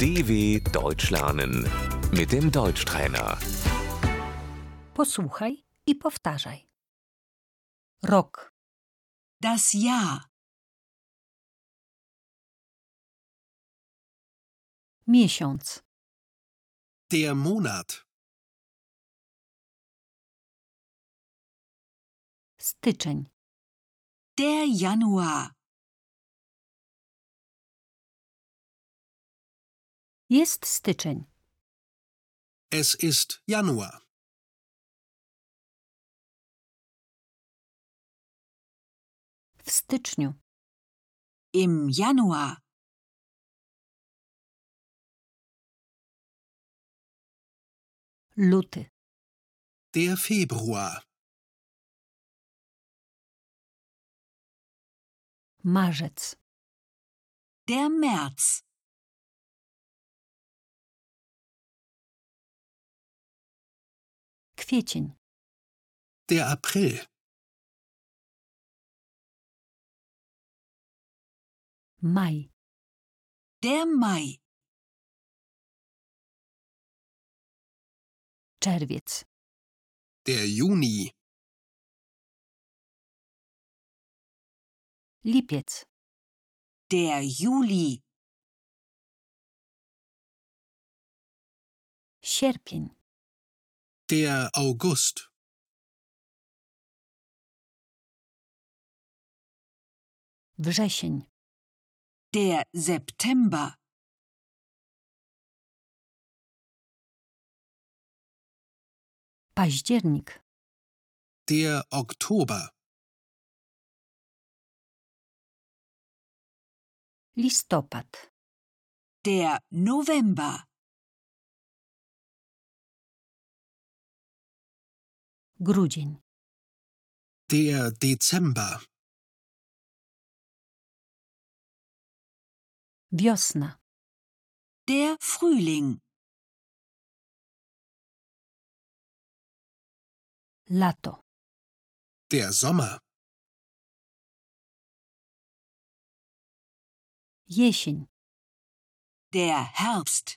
DW Deutsch lernen mit dem Deutschtrainer. Posłuchaj i powtarzaj. Rok, Das Jahr, miesiąc, Der Monat, styczeń, der Januar, jest styczeń, es ist Januar, w styczniu, im Januar, luty, der Februar, marzec, der März, kwiecień, der April, maj, der Mai, czerwiec, der Juni, lipiec, der Juli, sierpień, der August, wrzesień, der September, październik, der Oktober, listopad, der November, grudzień, der Dezember, wiosna, der Frühling, lato, der Sommer, jesień, der Herbst,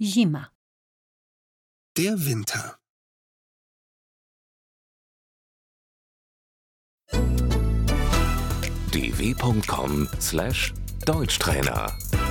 zima, der Winter. dw.com/deutschtrainer